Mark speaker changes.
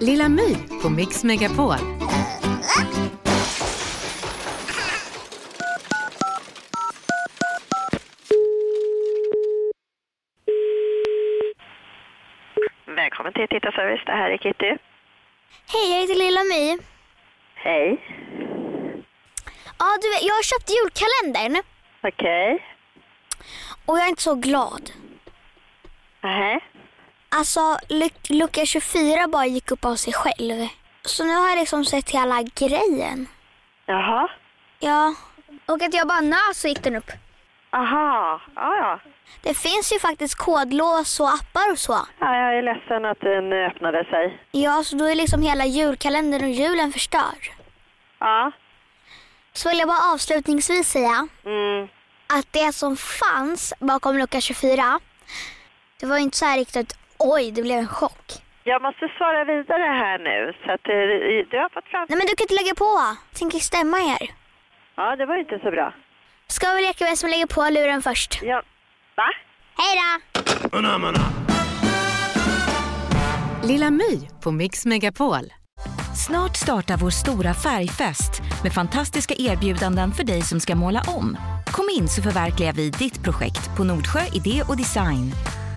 Speaker 1: Lilla My på Mix Megapol.
Speaker 2: Välkommen till Tittarservice, det här är Kitty.
Speaker 3: Hej, jag heter Lilla My.
Speaker 2: Hej.
Speaker 3: Ja, du vet, jag har köpt julkalendern
Speaker 2: Okej.
Speaker 3: och jag är inte så glad.
Speaker 2: Nähä.
Speaker 3: Alltså, luck- lucka 24 bara gick upp av sig själv. Så nu har jag liksom sett hela grejen.
Speaker 2: Jaha.
Speaker 3: Ja. Och att jag bara nös så gick den upp.
Speaker 2: Aha. Ja, ja.
Speaker 3: Det finns ju faktiskt kodlås och appar och så.
Speaker 2: ja. Jag är ledsen att den öppnade sig.
Speaker 3: Ja, så då är liksom hela julkalendern och julen förstörd.
Speaker 2: Ja.
Speaker 3: Så vill jag bara avslutningsvis säga
Speaker 2: Mm.
Speaker 3: att det som fanns bakom lucka 24, det var ju inte så här riktigt oj, det blev en chock.
Speaker 2: Jag måste svara vidare här nu. Så att, eh, du har fått fram...
Speaker 3: Nej men du kan inte lägga på. Tänker stämma er.
Speaker 2: Ja, det var ju inte så bra.
Speaker 3: Ska vi leka vem som lägger på luren först?
Speaker 2: Ja. Va?
Speaker 3: Hej då!
Speaker 1: Lilla My på Mix Megapol.
Speaker 4: Snart startar vår stora färgfest med fantastiska erbjudanden för dig som ska måla om. Kom in så förverkligar vi ditt projekt på Nordsjö Idé och Design.